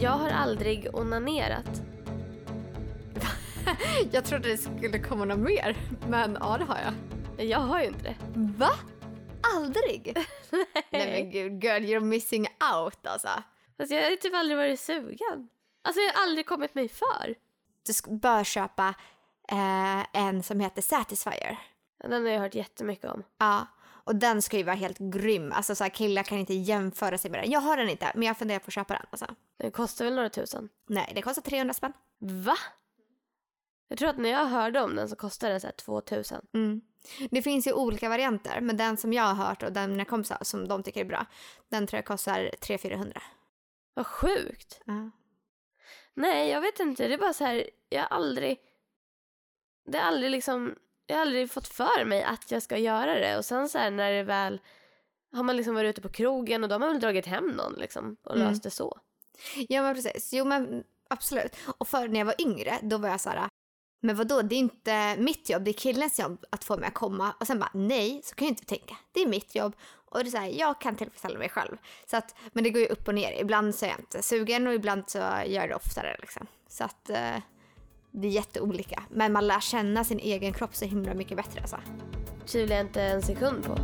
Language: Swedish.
Jag har aldrig onanerat. Jag trodde det skulle komma något mer, men ja det har jag. Jag har ju inte det. Va? Aldrig? Nej men gud, girl you're missing out alltså. Fast jag har typ aldrig varit sugen. Alltså jag har aldrig kommit mig för. Du sk- bör köpa eh, en som heter Satisfyer. Den har jag hört jättemycket om. Ja, och den ska ju vara helt grym. Alltså så här, killar kan inte jämföra sig med den. Jag har den inte, men jag funderar på att köpa den alltså. Den kostar väl några tusen? Nej, det kostar 300 spänn. Va? Jag tror att när jag hörde om den så kostade den så här 2000. Mm. Det finns ju olika varianter, men den som jag har hört och den mina kompisar som de tycker är bra, den tror jag kostar 300-400. Vad sjukt. Ja. Nej, jag vet inte. Det är bara så här, jag har aldrig... Det har aldrig liksom... Jag har aldrig fått för mig att jag ska göra det. Och sen så här när det väl... Har man liksom varit ute på krogen och då har man väl dragit hem någon liksom och Mm. löst det så. Ja men precis, jo men absolut. Och förr när jag var yngre, då var jag så här, men vadå, det är inte mitt jobb, det är killens jobb att få mig att komma. Och sen bara, nej, så kan jag inte tänka. Det är mitt jobb. Och det är så här, jag kan tillfredsställa mig själv. Så att, men det går ju upp och ner. Ibland så är jag inte sugen och ibland så gör jag det oftare liksom. Så att eh, det är jätteolika. Men man lär känna sin egen kropp så himla mycket bättre alltså. Tvivlar jag inte en sekund på.